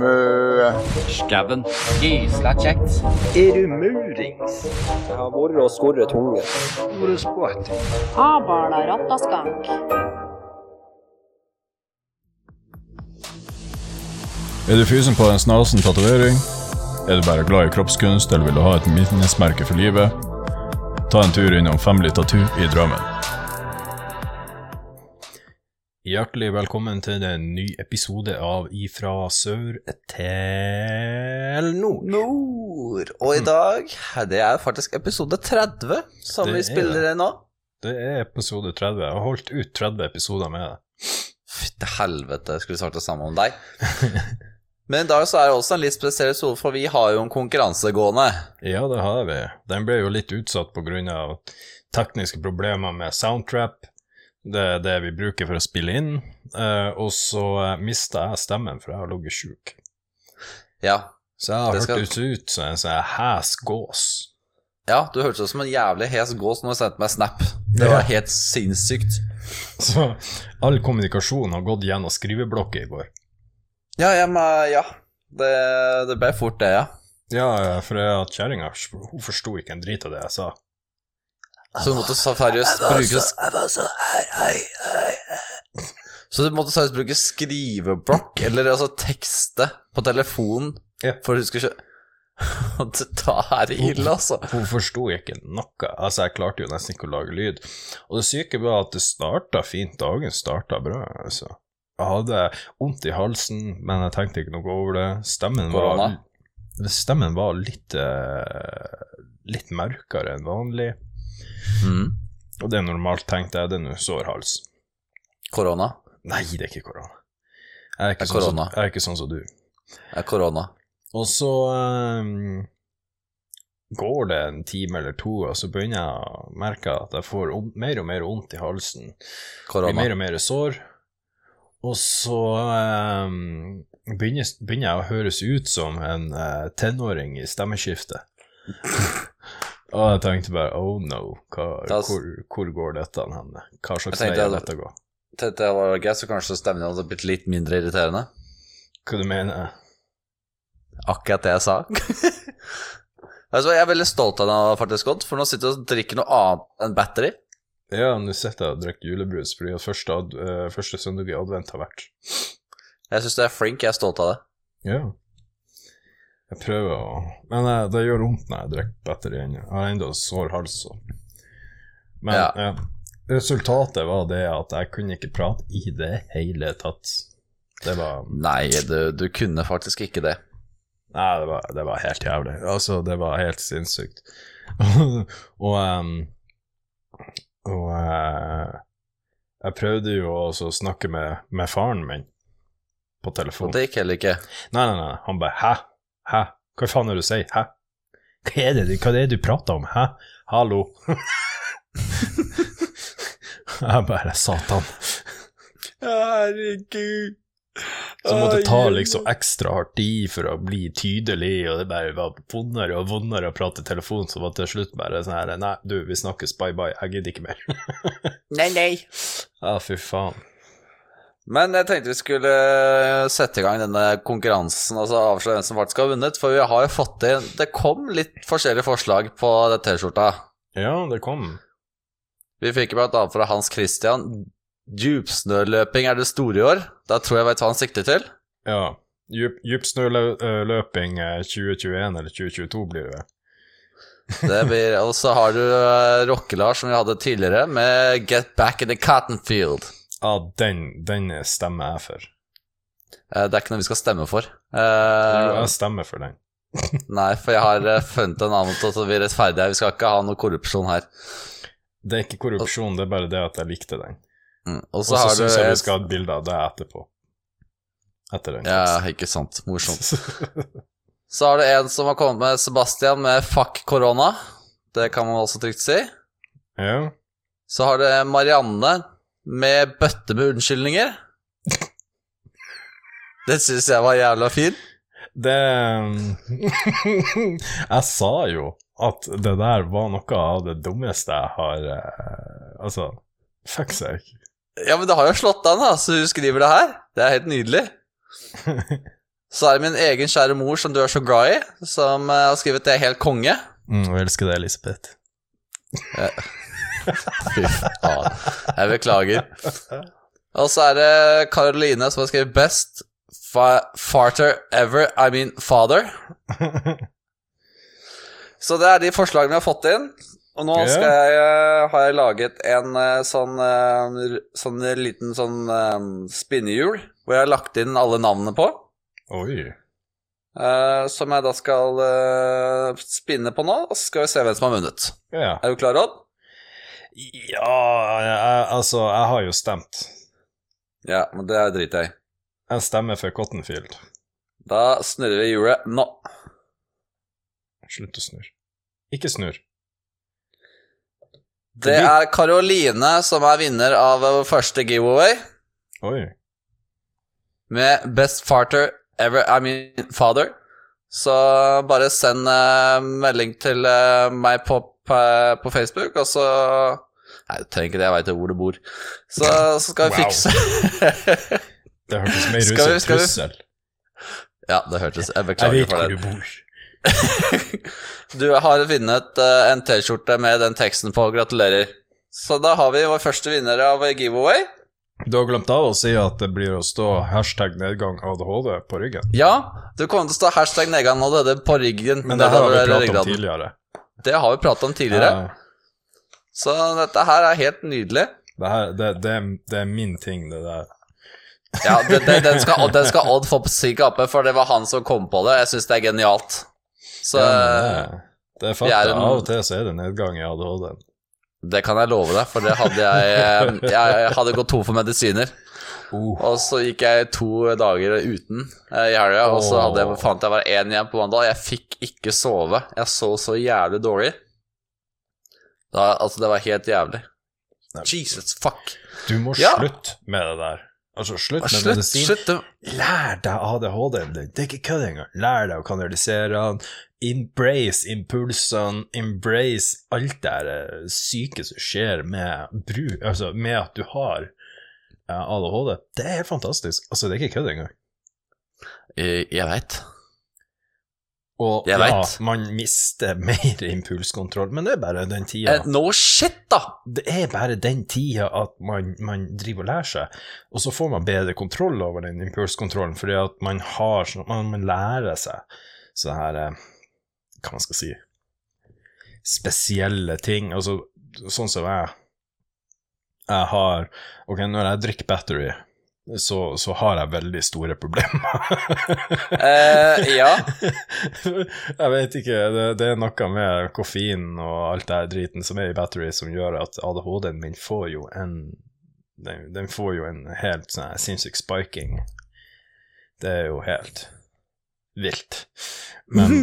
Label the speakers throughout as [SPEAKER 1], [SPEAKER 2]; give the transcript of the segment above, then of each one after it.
[SPEAKER 1] Mø...
[SPEAKER 2] Skauen. Gysla kjekt.
[SPEAKER 3] Er du murings?
[SPEAKER 4] Jeg har vært og skorret tunge.
[SPEAKER 3] Ordet spott.
[SPEAKER 5] Abarna rattaskank.
[SPEAKER 6] Er du fysen på en snasen tatovering? Er du bare glad i kroppskunst eller vil du ha et minnesmerke for livet? Ta en tur innom Family Tattoo i Drammen.
[SPEAKER 7] Hjertelig velkommen til en ny episode av Ifra sør til nord.
[SPEAKER 8] Nord. Og i dag, det er faktisk episode 30 som
[SPEAKER 7] Det
[SPEAKER 8] vi
[SPEAKER 7] er
[SPEAKER 8] spiller inn nå.
[SPEAKER 7] Det er episode 30. Jeg har holdt ut 30 episoder med det.
[SPEAKER 8] Fytti helvete, skulle vi sagt det samme om deg. Men i dag så er det også en litt spesiell episode, for vi har jo en konkurranse gående.
[SPEAKER 7] Ja, det har vi. Den ble jo litt utsatt pga. tekniske problemer med soundtrap. Det er det vi bruker for å spille inn. Eh, og så mista jeg stemmen, for jeg har ligget sjuk.
[SPEAKER 8] Ja,
[SPEAKER 7] Så jeg har
[SPEAKER 8] Det skal-
[SPEAKER 7] hørt ut, ut som en sånn hes gås.
[SPEAKER 8] ja du hørtes ut som en jævlig hes gås når du sendte meg snap. Det var helt sinnssykt.
[SPEAKER 7] Så all kommunikasjon har gått gjennom skriveblokka i går.
[SPEAKER 8] Ja, ja, men ja. Det, det ble fort det, ja.
[SPEAKER 7] Ja, ja, for at kjerringa hun forsto ikke en drit av det jeg sa.
[SPEAKER 8] Så du måtte seriøst bruke Så du måtte seriøst bruke skriveblokk, eller altså tekste på telefonen
[SPEAKER 7] Ja.
[SPEAKER 8] for å huske å kjø- Da er det ille, altså.
[SPEAKER 7] Hun forsto ikke noe. Altså, jeg klarte jo nesten ikke å lage lyd. Og det syke var at det starta fint. Dagen starta bra, altså. Jeg hadde vondt i halsen, men jeg tenkte ikke noe over det. Stemmen var,
[SPEAKER 8] Korona?
[SPEAKER 7] stemmen var litt eh, litt mørkere enn vanlig.
[SPEAKER 8] Mm.
[SPEAKER 7] Og det er normalt, tenkte jeg. Det er nå sår hals.
[SPEAKER 8] Korona.
[SPEAKER 7] Nei, det er ikke korona. Jeg er ikke,
[SPEAKER 8] Det er
[SPEAKER 7] sånn, som,
[SPEAKER 8] korona.
[SPEAKER 7] jeg er ikke sånn som du.
[SPEAKER 8] Det er korona.
[SPEAKER 7] Og så ehm, går det en time eller to, og så begynner jeg å merke at jeg får on- mer og mer vondt i halsen. Blir
[SPEAKER 8] Korona.
[SPEAKER 7] mer og mer sår. Og så ehm, begynner, begynner jeg å høres ut som en eh, tenåring i stemmeskiftet. og jeg tenkte bare oh no, hva,
[SPEAKER 8] Da s-
[SPEAKER 7] hvor, hvor går dette hen? Hva slags vei
[SPEAKER 8] Jeg tenkte
[SPEAKER 7] er
[SPEAKER 8] jeg-
[SPEAKER 7] dette gå?
[SPEAKER 8] Tenkte jeg var greit, så kanskje stemmen din hadde blitt litt mindre irriterende.
[SPEAKER 7] Hva du mener
[SPEAKER 8] Akkurat det jeg sa. altså, jeg er veldig stolt av deg, faktisk, Odd, for nå sitter du og drikker noe annet enn battery.
[SPEAKER 7] Ja, nå sitter jeg og drikker julebrus fordi at første, ad, eh, første søndag i advent har vært.
[SPEAKER 8] Jeg syns du er flink, jeg er stolt av det.
[SPEAKER 7] Ja. Jeg prøver å Men eh, det gjør vondt når jeg drikker batteri ennå. Jeg har ennå sår hals. Og... Men
[SPEAKER 8] Ja.
[SPEAKER 7] eh, resultatet var det at jeg kunne ikke prate i det hele tatt. Det var
[SPEAKER 8] Nei, du, du kunne faktisk ikke det.
[SPEAKER 7] Nei, det var, det var helt jævlig. Altså, det var helt sinnssykt. og em, Og eh, jeg prøvde jo også å snakke med, med faren min på telefon.
[SPEAKER 8] Og det gikk heller ikke.
[SPEAKER 7] Nei, nei, nei. Han bare Hæ? Hæ? Hva faen er det du sier? Hæ? Hva er det, du- hva er det du prater om? Hæ? Hallo? jeg bare Satan.
[SPEAKER 8] Herregud.
[SPEAKER 7] Så måtte jeg ta liksom ekstra hardt i for å bli tydelig, og det bare var vondere og vondere å prate i telefon, så var det til slutt bare sånn her Nei, du, vi snakkes, bye bye, jeg gidder ikke mer.
[SPEAKER 8] Nei, nei.
[SPEAKER 7] Ja, fy faen.
[SPEAKER 8] Men jeg tenkte vi skulle eh, sette i gang denne konkurransen og så avsløre hvem som faktisk har vunnet. For vi har jo fått inn Det kom litt forskjellige forslag på den T-skjorta.
[SPEAKER 7] Ja, det kom.
[SPEAKER 8] Vi fikk blant annet fra Hans Christian Djupsnøløping er det store i år. Da tror jeg jeg vet hva han sikter til.
[SPEAKER 7] Ja. Djup- Djupsnøløping eh, 2021 eller 2022 blir det vel.
[SPEAKER 8] Det blir, og så har du eh, Rocke-Lars, som vi hadde tidligere, med Get Back in the Cotton Field.
[SPEAKER 7] Ja, Ah, den, den stemmer jeg for.
[SPEAKER 8] Eh, Det er ikke noe vi skal stemme for.
[SPEAKER 7] Jo,
[SPEAKER 8] Eh,
[SPEAKER 7] jeg stemmer for den.
[SPEAKER 8] Nei, for jeg har eh, funnet en annen måte at vi er rettferdige. Vi skal ikke ha noe korrupsjon her.
[SPEAKER 7] Det er ikke korrupsjon, det er bare det at jeg likte den.
[SPEAKER 8] Mm.
[SPEAKER 7] Og så
[SPEAKER 8] har du
[SPEAKER 7] syns jeg vi
[SPEAKER 8] et-
[SPEAKER 7] skal ha et bilde av deg etterpå. Etter den.
[SPEAKER 8] Ja, ikke sant. Morsomt. Så har du en som har kommet med Sebastian med 'fuck korona'. Det kan man også trygt si.
[SPEAKER 7] ja.
[SPEAKER 8] Så har du Marianne med 'bøtte med unnskyldninger'. Det syns jeg var jævla fin.
[SPEAKER 7] Det ehm, Jeg sa jo at det der var noe av det dummeste jeg har eh, Altså, fuck seg.
[SPEAKER 8] Ja, men det har jo slått an, da, så hun skriver det her. Det er helt nydelig. Så er det min egen kjære mor, som du er så glad i, som eh, har skrevet 'Det er helt konge'.
[SPEAKER 7] Mm, jeg elsker deg, Elisabeth.
[SPEAKER 8] Fy faen. Jeg beklager. Og så er det Karoline som har skrevet 'Best fa farter ever I mean father'. Så det er de forslagene vi har fått inn. Og nå
[SPEAKER 7] Ja.
[SPEAKER 8] skal jeg, eh, har jeg laget en eh, sånn, eh, r- sånn liten sånn eh, spinnehjul hvor jeg har lagt inn alle navnene på.
[SPEAKER 7] Oi.
[SPEAKER 8] eh, som jeg da skal eh, spinne på nå, og så skal vi se hvem som har vunnet.
[SPEAKER 7] Ja.
[SPEAKER 8] Er du klar, Odd?
[SPEAKER 7] ja, jeg, altså, jeg har jo stemt.
[SPEAKER 8] Ja, men det driter jeg i.
[SPEAKER 7] Jeg stemmer for Cottonfield.
[SPEAKER 8] Da snurrer vi hjulet nå.
[SPEAKER 7] Slutt å snurre. Ikke snurr.
[SPEAKER 8] Det er Karoline som er vinner av vår første giveaway
[SPEAKER 7] Oi.
[SPEAKER 8] med Best Farter Ever I Mean Father. Så bare send eh, melding til eh, meg på, på, på Facebook, og så Nei, du trenger ikke det, jeg veit jo hvor du bor. Så, så skal vi
[SPEAKER 7] Wow.
[SPEAKER 8] fikse
[SPEAKER 7] Det hørtes mer ut
[SPEAKER 8] Skal vi-
[SPEAKER 7] som
[SPEAKER 8] skal vi-
[SPEAKER 7] trussel.
[SPEAKER 8] Ja, det hørtes Jeg
[SPEAKER 7] Jeg
[SPEAKER 8] beklager
[SPEAKER 7] vet
[SPEAKER 8] for
[SPEAKER 7] hvor
[SPEAKER 8] det.
[SPEAKER 7] du bor.
[SPEAKER 8] Du har vunnet eh, en T-skjorte med den teksten på. Gratulerer. Så da har vi vår første vinner av giveaway.
[SPEAKER 7] Du har glemt av å si at det blir å stå hashtag nedgang ADHD på ryggen.
[SPEAKER 8] Ja, du kommer til å stå hashtag nedgang og døde på ryggen.
[SPEAKER 7] Men det her har vi
[SPEAKER 8] Nedover
[SPEAKER 7] pratet om
[SPEAKER 8] ryggraden.
[SPEAKER 7] tidligere.
[SPEAKER 8] Det har vi pratet om tidligere.
[SPEAKER 7] Ja.
[SPEAKER 8] Så dette her er helt nydelig.
[SPEAKER 7] Det, her, det, det, er- det er min ting, det der.
[SPEAKER 8] Ja, det, det, den, skal, Odd- den skal Odd få på sin kappe, for det var han som kom på det. Jeg syns det er genialt. Så eh,
[SPEAKER 7] Ja, men det, det er fakta.
[SPEAKER 8] vi er en-
[SPEAKER 7] Av og til så er det nedgang i ADHD.
[SPEAKER 8] det kan jeg love deg, for det hadde jeg eh, Jeg hadde gått tom for medisiner.
[SPEAKER 7] Uh.
[SPEAKER 8] Og så gikk jeg to dager uten eh, i helga, og så hadde jeg,
[SPEAKER 7] Åh.
[SPEAKER 8] fant jeg bare én igjen på mandag. Jeg fikk ikke sove. Jeg så så jævlig dårlig. Da, altså, det var helt jævlig.
[SPEAKER 7] Nei.
[SPEAKER 8] Jesus fuck.
[SPEAKER 7] Du må
[SPEAKER 8] Ja.
[SPEAKER 7] slutte med det der. Altså, slutt med
[SPEAKER 8] Slutt,
[SPEAKER 7] medisin.
[SPEAKER 8] slutt. det-
[SPEAKER 7] Lær deg ADHD-en din. Det er ikke kødd engang. Lær deg å kanalisere den. Embrace impulsene. Embrace alt det her eh, syke som skjer med, bru, altså, med at du har eh, ADHD. Det er helt fantastisk. Altså, det er ikke kødd engang.
[SPEAKER 8] Eh, Jeg veit.
[SPEAKER 7] Og
[SPEAKER 8] Jeg
[SPEAKER 7] ja,
[SPEAKER 8] vet.
[SPEAKER 7] man mister mer impulskontroll, men det er bare den tida.
[SPEAKER 8] Eh, No shit, da!
[SPEAKER 7] Det er bare den tida at man, man driver og lærer seg, og så får man bedre kontroll over den impulskontrollen, fordi at man har sånn man, man lærer seg sånne her eh, Hva man skal si Spesielle ting. Altså, sånn som jeg Jeg har Ok, når jeg drikker battery, så, så har jeg veldig store problemer.
[SPEAKER 8] Eh, ja.
[SPEAKER 7] jeg vet ikke, det, det er noe med koffein og alt det her driten som er i battery som gjør at ADHD-en min får jo en den, den får jo en helt sånn her sinnssyk spiking. Det er jo helt vilt. Men,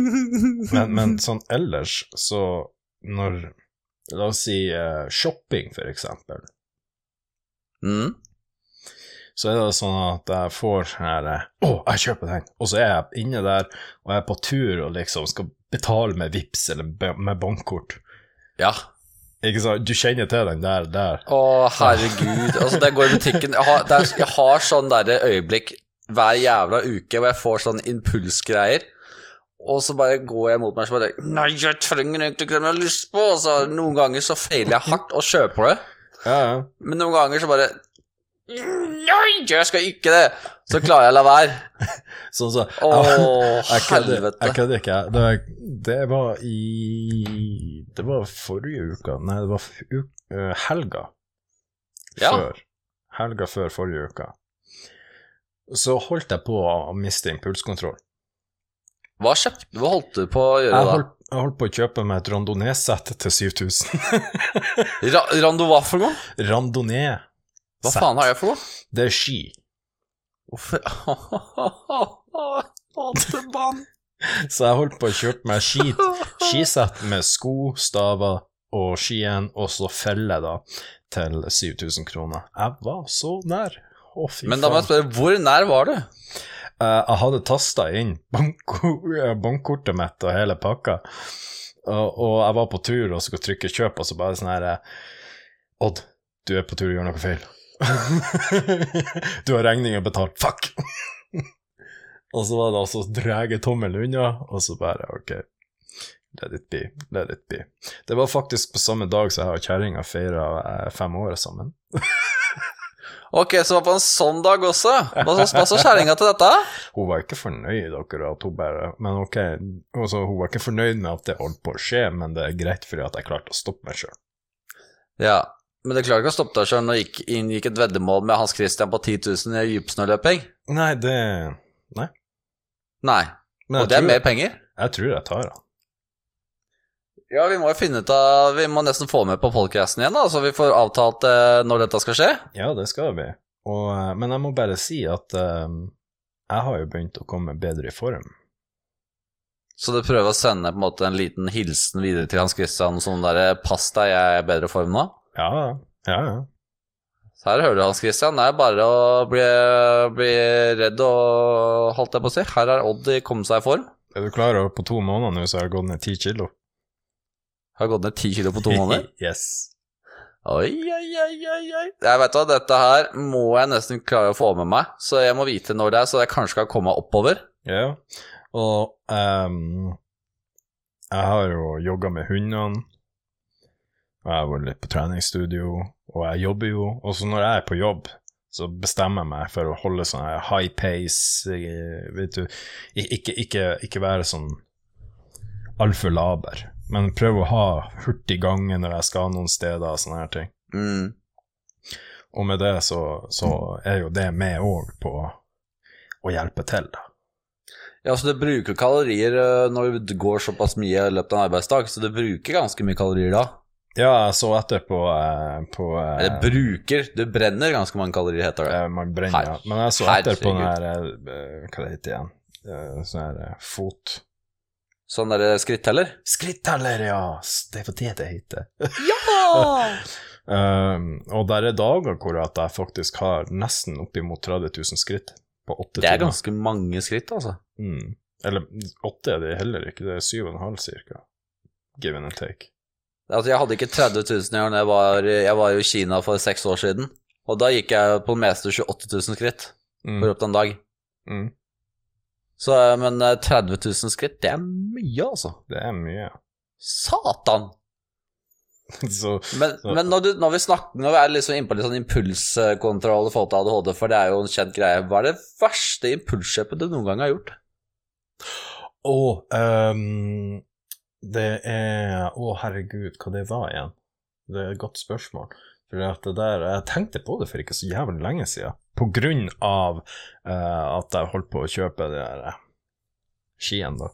[SPEAKER 7] men, men sånn ellers, så når La oss si eh, shopping, for eksempel
[SPEAKER 8] Mm.
[SPEAKER 7] så er det sånn at jeg får sånn her Å, jeg kjøper den! Og så er jeg inne der, og jeg er på tur og liksom skal betale med VIPs eller be- med bankkort.
[SPEAKER 8] Ja.
[SPEAKER 7] Ikke sant? Du kjenner til den der, der.
[SPEAKER 8] Å, herregud. Altså, det går i butikken Jeg har, det er, jeg har sånn derre øyeblikk hver jævla uke hvor jeg får sånn impulsgreier. Og så bare går jeg mot meg og bare Nei, jeg trenger egentlig ikke det, men jeg har lyst på Og så noen ganger så feiler jeg hardt og kjøper det.
[SPEAKER 7] Ja, ja.
[SPEAKER 8] Men noen ganger så bare Nei, jeg skal ikke det! Så klarer jeg å la være.
[SPEAKER 7] Sånn så,
[SPEAKER 8] Å,
[SPEAKER 7] jeg kødder jeg
[SPEAKER 8] helvete.
[SPEAKER 7] kødder ikke. jeg. Det, det var i Det var forrige uka Nei, det var u eh, helga
[SPEAKER 8] Ja.
[SPEAKER 7] før. Helga før forrige uka. Så holdt jeg på å miste impulskontroll.
[SPEAKER 8] Hva kjøpte du? Hva holdt du på å gjøre
[SPEAKER 7] Jeg
[SPEAKER 8] da?
[SPEAKER 7] holdt, jeg holdt på å kjøpe meg et randonee-sett til 7000.
[SPEAKER 8] Ra Rando hva for noe?
[SPEAKER 7] randonee.
[SPEAKER 8] Hva faen har jeg for noe?
[SPEAKER 7] Det er ski.
[SPEAKER 8] Hvorfor Hatebanen.
[SPEAKER 7] Så jeg holdt på å kjøpe meg ski, skisett med sko, staver og skien, og så felle da til 7000 kroner. Jeg var så nær. Å, fy
[SPEAKER 8] Men da må jeg
[SPEAKER 7] faen.
[SPEAKER 8] spørre, hvor nær var du?
[SPEAKER 7] Eh, jeg hadde tasta inn banko- eh, bankkortet mitt og hele pakka, og, og jeg var på tur og skulle trykke kjøp, og så bare sånn her eh, Odd, du er på tur og gjør noe feil. du har regninga betalt. Fuck! Og så var det altså å drege tommelen unna, og så bare ok, let it be, let it be. Det var faktisk på samme dag som jeg og kjerringa feira eh, fem år sammen.
[SPEAKER 8] Ok, så var det på en sånn dag også. Hva sa- hva sa kjerringa til dette?
[SPEAKER 7] Hun var ikke fornøyd akkurat, hun bare Men ok, altså, hun var ikke fornøyd med at det holdt på å skje, men det er greit fordi at jeg klarte å stoppe meg sjøl.
[SPEAKER 8] Ja, men det klarer ikke å stoppe deg sjøl når du gikk- inngikk et veddemål med Hans Christian på 10 000 i dypsnøløping.
[SPEAKER 7] Nei, det
[SPEAKER 8] Nei, og
[SPEAKER 7] Men jeg
[SPEAKER 8] det er
[SPEAKER 7] tror-
[SPEAKER 8] mer penger.
[SPEAKER 7] Jeg tror jeg tar han.
[SPEAKER 8] Ja, vi må jo finne ut av Vi må nesten få med på podcasten igjen, da, så vi får avtalt eh, når dette skal skje.
[SPEAKER 7] Ja, det skal vi. Og, eh, men jeg må bare si at eh, jeg har jo begynt å komme bedre i form.
[SPEAKER 8] Så du prøver å sende på en måte en liten hilsen videre til Hans Christian sånn derre 'pass deg, jeg er i bedre form nå'?
[SPEAKER 7] Ja, ja, ja.
[SPEAKER 8] Så her hører du Hans Christian, det er bare å bli, bli redd og holdt jeg på å si. Her har Odd kommet seg i form.
[SPEAKER 7] Er du klar over på to måneder nå så har jeg gått ned ti kilo?
[SPEAKER 8] Har gått ned ti kilo på to måneder.
[SPEAKER 7] yes.
[SPEAKER 8] Oi, oi, oi, oi, oi. Jeg vet hva, dette her må jeg nesten klare å få med meg, så jeg må vite når det er, så jeg kanskje kan komme meg oppover.
[SPEAKER 7] Ja. Og ehm, jeg har jo jogga med hundene, og jeg har vært litt på treningsstudio, og jeg jobber jo. Og så når jeg er på jobb, så bestemmer jeg meg for å holde sånn her high pace, eh, vet du. Ik- Ikke, ikke, ikke være sånn altfor laber, men prøve å ha hurtig gange når jeg skal noen steder og sånne her ting.
[SPEAKER 8] Mm.
[SPEAKER 7] Og med det så, så er jo det med òg på å hjelpe til, da.
[SPEAKER 8] Ja, så du bruker kalorier øh, når du går såpass mye i løpet av en arbeidsdag, så du bruker ganske mye kalorier da.
[SPEAKER 7] Ja, jeg så etter på, eh, på eh,
[SPEAKER 8] Eller bruker, du brenner ganske mange kalorier, heter det.
[SPEAKER 7] eh, Man brenner, ja.
[SPEAKER 8] Her-
[SPEAKER 7] Men jeg så etter på den
[SPEAKER 8] herregud.
[SPEAKER 7] her eh, Hva det heter det igjen? Eh, Sånn her eh, fot...
[SPEAKER 8] Sånn derre skritteller.
[SPEAKER 7] Skritteller, ja! S- Det var det det heter.
[SPEAKER 5] Åh,
[SPEAKER 7] Um, og der er dager hvor at jeg faktisk har nesten oppimot 30 000 skritt på åtte
[SPEAKER 8] Det er
[SPEAKER 7] timer.
[SPEAKER 8] ganske mange skritt, altså.
[SPEAKER 7] Mm. Eller åtte er det heller ikke, det er syv og en halv cirka. Give and take.
[SPEAKER 8] Altså, jeg hadde ikke 30 000 i år da jeg var, jeg var jo i Kina for seks år siden. Og da gikk jeg på det meste 28 000 skritt
[SPEAKER 7] Mm.
[SPEAKER 8] på løpet av en dag.
[SPEAKER 7] Mm.
[SPEAKER 8] Så, øh, men øh, 30 000 skritt, det er mye, altså.
[SPEAKER 7] Det er mye.
[SPEAKER 8] Satan!
[SPEAKER 7] så
[SPEAKER 8] Men,
[SPEAKER 7] Så-
[SPEAKER 8] men når, du, når vi snakker Når vi er liksom inne på litt sånn impulskontroll i forhold til ADHD, for det er jo en kjent greie, hva er det verste impulskjøpet du noen gang har gjort?
[SPEAKER 7] Og ehm, det er Å, herregud, hva det var igjen? Det er et godt spørsmål. For at det der, jeg tenkte på det for ikke så jævlig lenge siden. På grunn av eh, at jeg holdt på å kjøpe de der eh, skien, da.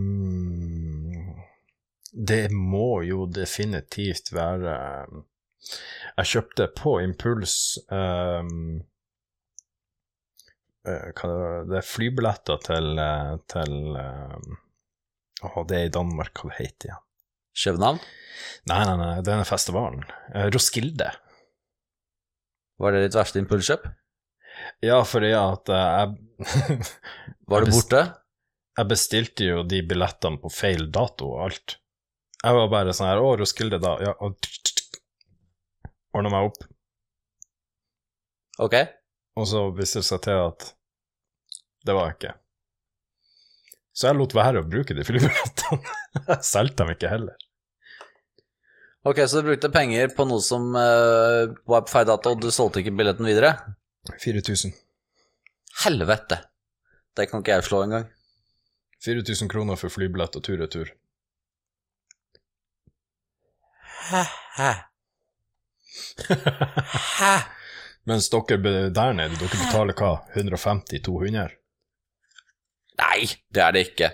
[SPEAKER 7] Ehm, det må jo definitivt være ehm, Jeg kjøpte på impuls ehm, eh, hva det, var, det er flybilletter til, eh, til eh, Åh, det er i Danmark, hva det heter igjen?
[SPEAKER 8] København?
[SPEAKER 7] Nei, nei, nei, det er den festivalen. Eh, Roskilde.
[SPEAKER 8] Var det ditt verste impulskjøp?
[SPEAKER 7] Ja, fordi at eh, jeg
[SPEAKER 8] Var du
[SPEAKER 7] Jeg bes-
[SPEAKER 8] borte?
[SPEAKER 7] jeg bestilte jo de billettene på feil dato og alt. Jeg var bare sånn her Å, Roskilde, da. Ja, og ordna meg opp.
[SPEAKER 8] Ok.
[SPEAKER 7] Og så viste det seg til at det var jeg ikke. Så jeg lot være å bruke de flybillettene. Jeg solgte dem ikke heller.
[SPEAKER 8] Ok, Så du brukte penger på noe som eh, var på feil dato, og du solgte ikke billetten videre?
[SPEAKER 7] 4000.
[SPEAKER 8] Helvete! Det kan ikke jeg slå engang.
[SPEAKER 7] 4000 kroner for flybillett og tur-retur.
[SPEAKER 8] Hæ? Hæ?
[SPEAKER 7] Mens dere be- der nede, dere betaler hva? 150-200?
[SPEAKER 8] Nei, det er det ikke.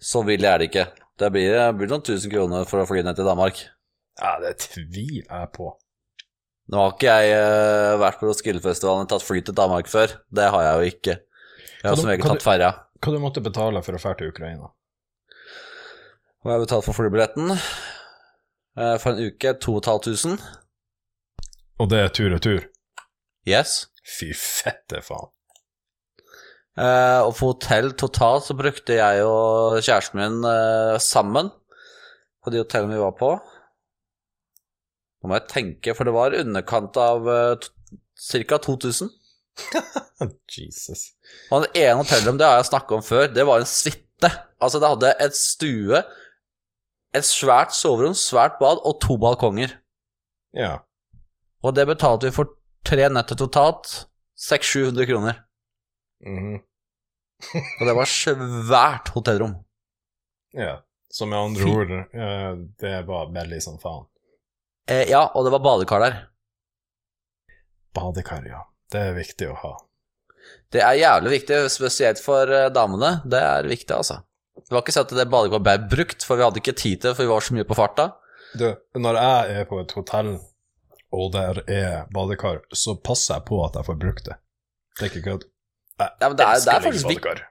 [SPEAKER 8] Så billig er det ikke. Det blir, det blir noen tusen kroner for å fly ned til Danmark.
[SPEAKER 7] Ja, det tviler jeg på.
[SPEAKER 8] Nå har ikke jeg eh, vært på Roskildefestivalen og tatt fly til Danmark før. Det har jeg jo ikke. Jeg
[SPEAKER 7] Kan
[SPEAKER 8] har
[SPEAKER 7] du-
[SPEAKER 8] som regel
[SPEAKER 7] kan
[SPEAKER 8] tatt ferja.
[SPEAKER 7] Hva du måtte betale for å dra til Ukraina?
[SPEAKER 8] Og jeg har betalt for flybilletten eh, for en uke 2500.
[SPEAKER 7] Og det er tur-retur?
[SPEAKER 8] Yes.
[SPEAKER 7] Fy fette faen.
[SPEAKER 8] Eh, og for hotell totalt så brukte jeg og kjæresten min eh, sammen på de hotellene vi var på. eh, Nå må jeg tenke, for det var i underkant av ca. 2000.
[SPEAKER 7] Jesus.
[SPEAKER 8] Og det ene hotellrommet, det har jeg snakket om før, det var en suite. Altså, det hadde et stue, et svært soverom, svært bad og to balkonger.
[SPEAKER 7] Ja.
[SPEAKER 8] Og det betalte vi for tre netter totalt, 600-700 kroner.
[SPEAKER 7] mhm.
[SPEAKER 8] Og det var svært hotellrom.
[SPEAKER 7] ja. Så med andre ord, eh, det var billig som faen.
[SPEAKER 8] Eh, ja, og det var badekar der.
[SPEAKER 7] Badekar, ja. Det er viktig å ha.
[SPEAKER 8] Det er jævlig viktig, spesielt for eh, damene. Det er viktig, altså. Det var ikke sånn at det badekaret ble brukt, for vi hadde ikke tid til det, for vi var så mye på farta.
[SPEAKER 7] Du, når jeg er på et hotell, og der er badekar, så passer jeg på at jeg får brukt det. Det er ikke kødd. Jeg
[SPEAKER 8] Ja, men det er- det er
[SPEAKER 7] elsker å ligge i
[SPEAKER 8] faktisk viktig.
[SPEAKER 7] badekar.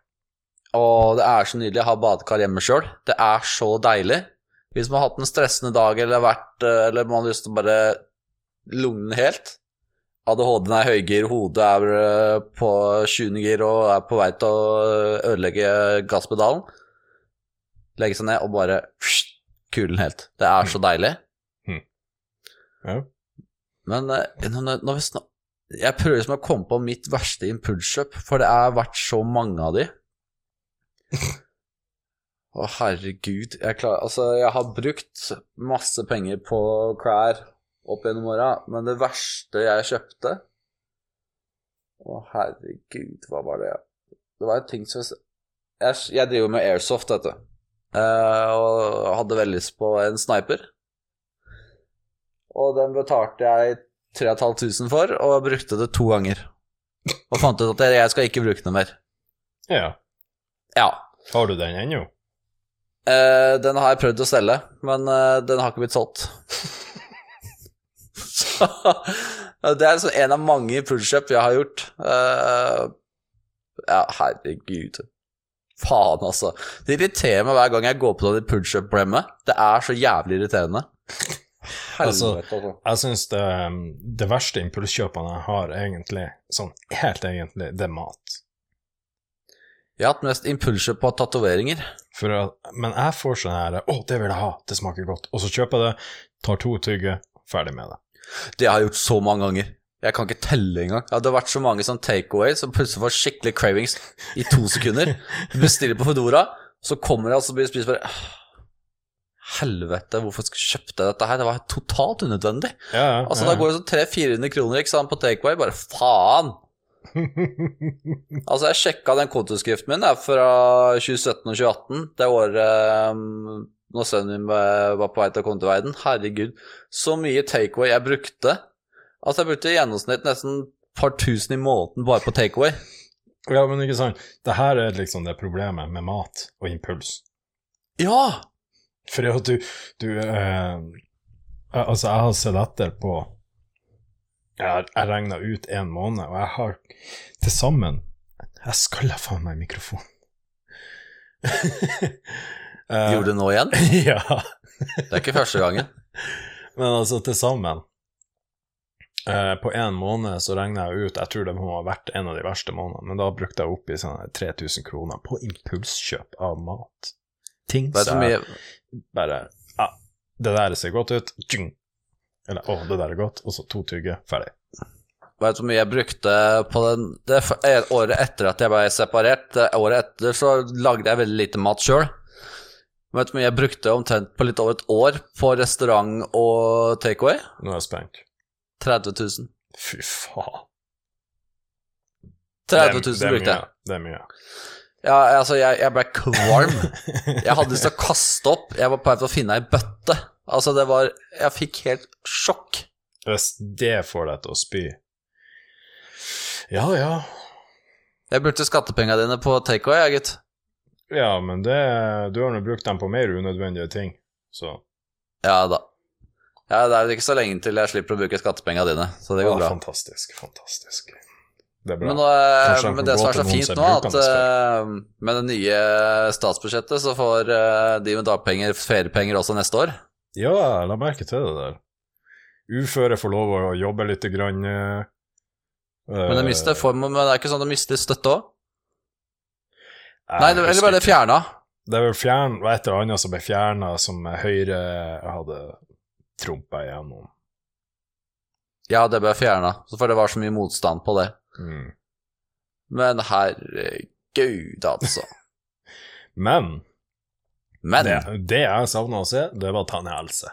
[SPEAKER 8] Og det er så nydelig å ha badekar hjemme sjøl. Det er så deilig. Hvis man har hatt en stressende dag eller vært eh, Eller man har lyst til å bare lugne helt. ADHD-en er høygir, hodet er eh, på 20. gir og er på vei til å eh, ødelegge gasspedalen. Legge seg ned og bare pssst, kulen helt. Det er så deilig.
[SPEAKER 7] Mm. Ja.
[SPEAKER 8] Men eh, når, når vi snak... Jeg prøver liksom å komme på mitt verste impulskjøp, for det har vært så mange av de. Å, herregud. Jeg, klarer, altså, jeg har brukt masse penger på klær opp gjennom åra, men det verste jeg kjøpte Å, herregud, hva var det? Det var en ting som Jeg, jeg driver med airsoft, vet du. Eh, og hadde veldig lyst på en sniper. Og den betalte jeg 3500 for, og brukte det to ganger. Og fant ut at jeg- jeg skal ikke bruke den mer.
[SPEAKER 7] Ja.
[SPEAKER 8] Ja,
[SPEAKER 7] Har du den ennå?
[SPEAKER 8] Eh, den har jeg prøvd å selge, men eh, den har ikke blitt solgt. Så det er liksom en av mange impulskjøp jeg har gjort. Eh, ja, herregud. Faen, altså. Det irriterer meg hver gang jeg går på noen impulskjøp-problemet. Det er så jævlig irriterende.
[SPEAKER 7] Altså,
[SPEAKER 8] Helvete, altså.
[SPEAKER 7] Jeg syns det, um, det verste impulskjøpene jeg har, egentlig, sånn helt egentlig, det er mat.
[SPEAKER 8] Jeg har hatt mest impulskjøp på tatoveringer.
[SPEAKER 7] For, at- men jeg får sånn her 'Å, det vil jeg ha, det smaker godt', og så kjøper jeg det, tar to tygge, ferdig med det.
[SPEAKER 8] Det har jeg gjort så mange ganger. Jeg kan ikke telle engang. Ja, det har vært så mange sånn takeaway som plutselig får skikkelig cravings i to sekunder. Bestiller på Foodora, så kommer jeg og så blir det spist bare «Åh, Helvete, hvorfor sk- kjøpte jeg dette her? Det var totalt unødvendig.
[SPEAKER 7] Ja, ja,
[SPEAKER 8] Altså,
[SPEAKER 7] ja.
[SPEAKER 8] Da går det sånn 300-400 kroner ikke sant, på takeaway. Bare faen! Altså, jeg sjekka den kontoskriften min der fra 2017 og 2018, det året um, når sønnen min eh, var på vei til kontoverden. Herregud, så mye takeaway jeg brukte. Altså, jeg brukte i gjennomsnitt nesten et par tusen i måneden bare på takeaway.
[SPEAKER 7] ja, men ikke sant. Det her er liksom det problemet med mat og impuls.
[SPEAKER 8] Ja!
[SPEAKER 7] For at du, du eh, Altså, jeg har sett etter på Jeg, har- jeg regna ut en måned, og jeg har til sammen Jeg skalla faen meg mikrofonen. Eh,
[SPEAKER 8] Gjorde det nå igjen?
[SPEAKER 7] Ja.
[SPEAKER 8] Det er ikke første gangen.
[SPEAKER 7] Men altså, til sammen eh, På én måned så regna jeg ut Jeg tror det må ha vært en av de verste månedene, men da brukte jeg oppi sånn 3000 kroner på impulskjøp av mat. Ting
[SPEAKER 8] Vet du
[SPEAKER 7] som
[SPEAKER 8] hvor
[SPEAKER 7] jeg
[SPEAKER 8] mye
[SPEAKER 7] bare Ja, det der ser godt ut. Tjung. Eller å, det der er godt. Og så to tygge, ferdig.
[SPEAKER 8] Vet du hvor mye jeg brukte på den det f- eh, året etter at jeg ble separert? Det året etter så lagde jeg veldig lite mat sjøl. Vet du hvor mye jeg brukte omtrent på litt over et år på restaurant og takeaway?
[SPEAKER 7] Nå er jeg spent.
[SPEAKER 8] 30 000.
[SPEAKER 7] Fy faen.
[SPEAKER 8] 30 000
[SPEAKER 7] er
[SPEAKER 8] brukte jeg.
[SPEAKER 7] mye. Det er mye.
[SPEAKER 8] Ja, altså, jeg, jeg ble kvalm. Jeg hadde lyst til å kaste opp. Jeg var på vei til å finne ei bøtte. Altså, det var Jeg fikk helt sjokk.
[SPEAKER 7] Hvis det får deg til å spy Ja, ja.
[SPEAKER 8] Jeg brukte skattepengene dine på takeaway, jeg, gutt.
[SPEAKER 7] Ja, men det Du har nå brukt dem på mer unødvendige ting, så
[SPEAKER 8] Ja da. Ja, det er vel ikke så lenge til jeg slipper å bruke skattepengene dine, så det
[SPEAKER 7] Ja,
[SPEAKER 8] går bra.
[SPEAKER 7] Fantastisk, fantastisk. Det er bra.
[SPEAKER 8] Men,
[SPEAKER 7] Kanskje
[SPEAKER 8] eh,
[SPEAKER 7] han
[SPEAKER 8] men
[SPEAKER 7] får
[SPEAKER 8] det
[SPEAKER 7] gå
[SPEAKER 8] som er
[SPEAKER 7] til
[SPEAKER 8] så
[SPEAKER 7] noen
[SPEAKER 8] fint
[SPEAKER 7] som
[SPEAKER 8] nå,
[SPEAKER 7] bruker
[SPEAKER 8] at
[SPEAKER 7] den
[SPEAKER 8] eh, med det nye statsbudsjettet så får eh, de med dagpenger feriepenger også neste år.
[SPEAKER 7] Ja, jeg la merke til det der. Uføre får lov å jobbe litt. Grann, eh,
[SPEAKER 8] Men,
[SPEAKER 7] eh,
[SPEAKER 8] de mister, får, men det er ikke sånn at de mister støtte òg?
[SPEAKER 7] jeg
[SPEAKER 8] Nei, det,
[SPEAKER 7] husker
[SPEAKER 8] eller ble det
[SPEAKER 7] ikke.
[SPEAKER 8] fjerna?
[SPEAKER 7] Det er vel fjern, var et eller annet som ble fjerna, som Høyre hadde trumpa igjennom.
[SPEAKER 8] Ja, det ble fjerna, for det var så mye motstand på det.
[SPEAKER 7] Mm.
[SPEAKER 8] Men herregud, altså.
[SPEAKER 7] Men
[SPEAKER 8] Men
[SPEAKER 7] det, det jeg savna å se, det var tannhelse.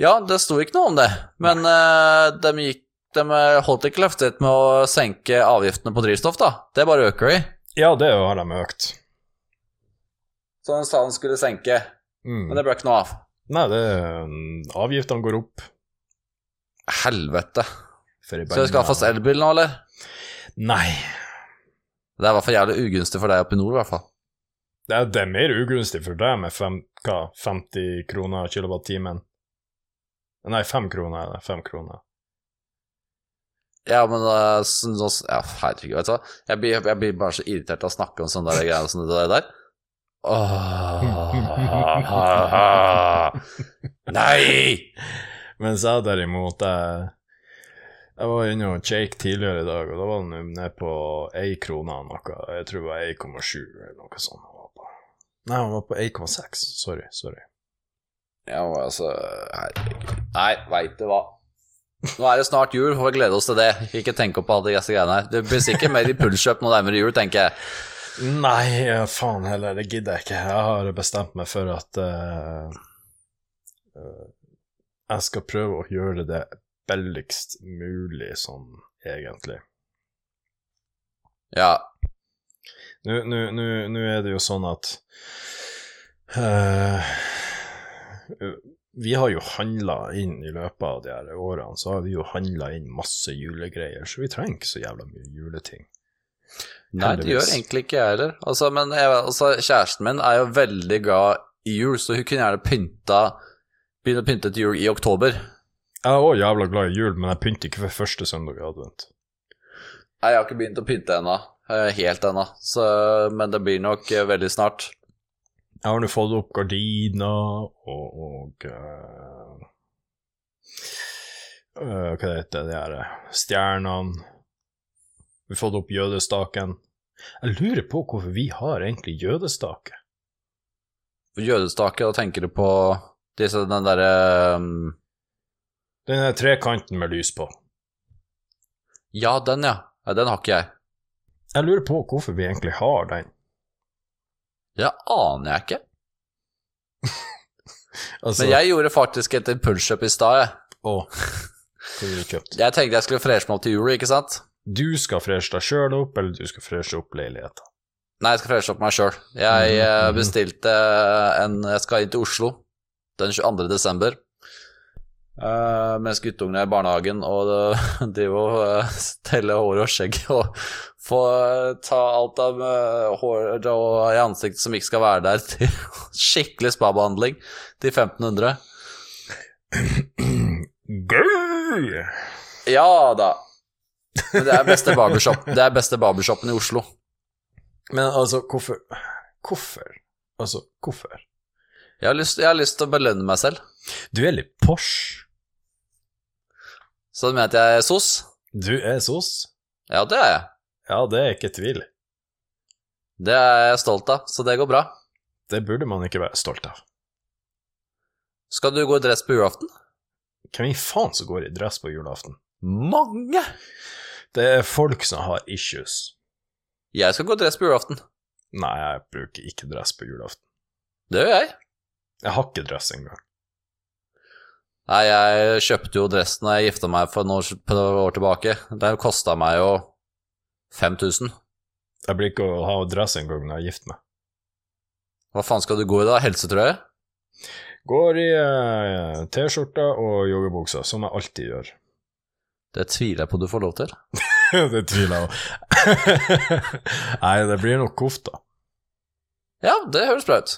[SPEAKER 8] Ja, det sto ikke noe om det, men eh, de, gikk, de holdt ikke løftet sitt med å senke avgiftene på drivstoff, da. Det bare øker de.
[SPEAKER 7] Ja, det har de økt.
[SPEAKER 8] Så han sa han skulle senke,
[SPEAKER 7] Mm.
[SPEAKER 8] men det ble ikke noe av.
[SPEAKER 7] Nei, det mm, Avgiftene går opp.
[SPEAKER 8] Helvete.
[SPEAKER 7] For i
[SPEAKER 8] Så vi skal ha
[SPEAKER 7] bandet.
[SPEAKER 8] fast elbil nå, eller?
[SPEAKER 7] Nei.
[SPEAKER 8] Det er i hvert fall jævlig ugunstig for deg oppe i nord, i hvert fall.
[SPEAKER 7] Det er, det er mer ugunstig for deg med fem, hva, 50 kroner kilowattimen. Nei, 5 kroner er det. 5 kroner.
[SPEAKER 8] Ja, men eh, sånn- sånn- ja, herregud, vet du hva. Jeg blir, jeg blir bare så irritert av å snakke om sånne der greier som det der. Åh. Nei!
[SPEAKER 7] Mens jeg derimot jeg, jeg var inne og Jake tidligere i dag, og da var han jo ned på 1 krone og noe. Jeg tror det var 1,7 eller noe sånt. han var på. Nei, han var på 1,6. Sorry. sorry.
[SPEAKER 8] Ja, men altså Herregud. Nei, veit du hva. Nå er det snart jul, får vi glede oss til det. Ikke tenk på alle disse greiene her. Det blir sikkert mer impulskjøp nå nærmere jul, tenker jeg.
[SPEAKER 7] Nei, ja, faen heller, det gidder jeg ikke. Jeg har bestemt meg for at eh, eh, jeg skal prøve å gjøre det billigst mulig sånn, egentlig.
[SPEAKER 8] Ja,
[SPEAKER 7] Nå nå- nå- nå er det jo sånn at eh, Vi har jo handla inn i løpet av de her årene, så har vi jo handla inn masse julegreier, så vi trenger ikke så jævla mye juleting.
[SPEAKER 8] Nei, det gjør
[SPEAKER 7] Heldigvis.
[SPEAKER 8] egentlig ikke jeg heller. Altså, men jeg, altså, kjæresten min er jo veldig glad i jul, så hun kunne gjerne pynta begynne å pynte til jul i oktober.
[SPEAKER 7] Jeg er òg jævla glad i jul, men jeg pynter ikke for første søndag i advent.
[SPEAKER 8] Nei, jeg har ikke begynt å pynte ennå. eh, Helt ennå. Så- Men det blir nok eh, veldig snart.
[SPEAKER 7] Jeg har nå fått opp gardiner og, og eh, eh, Hva det heter det her eh, Stjernene. Vi har fått opp jødestaken. Jeg lurer på hvorfor vi har egentlig jødestake.
[SPEAKER 8] Jødestake, da tenker du på disse, den derre um,
[SPEAKER 7] Den der trekanten med lys på.
[SPEAKER 8] Ja, den, ja. ja. Den har ikke jeg.
[SPEAKER 7] Jeg lurer på hvorfor vi egentlig har den.
[SPEAKER 8] Det aner jeg ikke.
[SPEAKER 7] Altså,
[SPEAKER 8] Men jeg gjorde faktisk et impulskjøp i stad. jeg.
[SPEAKER 7] Å, hva har du kjøpt?
[SPEAKER 8] Jeg tenkte jeg skulle freshe meg opp til jul, ikke sant?
[SPEAKER 7] Du skal freshe deg sjøl opp, eller du skal freshe opp leiligheten.
[SPEAKER 8] Nei, jeg skal freshe opp meg sjøl. Jeg eh, bestilte eh, en Jeg skal inn til Oslo den 22. desember. eh, mens guttungene er i barnehagen og det- driver og eh, teller hår og skjegg og får eh, ta alt av eh, håret og i ansiktet som ikke skal være der, til skikkelig spabehandling til 1500.
[SPEAKER 7] Gøy!
[SPEAKER 8] Ja da. Men det er beste barbershop Det er beste barbershoppen i Oslo.
[SPEAKER 7] Men altså, hvorfor Hvorfor? Altså, hvorfor?
[SPEAKER 8] Jeg har, lyst, jeg har lyst til å belønne meg selv.
[SPEAKER 7] Du er litt Porsche.
[SPEAKER 8] Så du mener at jeg er sos?
[SPEAKER 7] Du er sos.
[SPEAKER 8] Ja, det er jeg.
[SPEAKER 7] Ja, det er ikke tvil.
[SPEAKER 8] Det er jeg stolt av, så det går bra.
[SPEAKER 7] Det burde man ikke være stolt av.
[SPEAKER 8] Skal du gå i dress på julaften?
[SPEAKER 7] Hvem i faen som går i dress på julaften?
[SPEAKER 8] Mange!
[SPEAKER 7] Det er folk som har issues.
[SPEAKER 8] Jeg skal gå i dress på julaften.
[SPEAKER 7] Nei, jeg bruker ikke dress på julaften.
[SPEAKER 8] Det gjør jeg.
[SPEAKER 7] Jeg har ikke dress engang.
[SPEAKER 8] Nei, jeg kjøpte jo dress når jeg gifta meg for noen år, for noen år tilbake. Den kosta meg jo 5000.
[SPEAKER 7] Jeg blir ikke å ha dress engang når jeg er gift meg.
[SPEAKER 8] Hva faen skal du gå i da? Helsetrøye?
[SPEAKER 7] Går i eh, T-skjorta og joggebuksa, som jeg alltid gjør.
[SPEAKER 8] Det tviler jeg på du får lov til.
[SPEAKER 7] det tviler jeg på. Nei, det blir nok kofta.
[SPEAKER 8] Ja, det høres bra ut.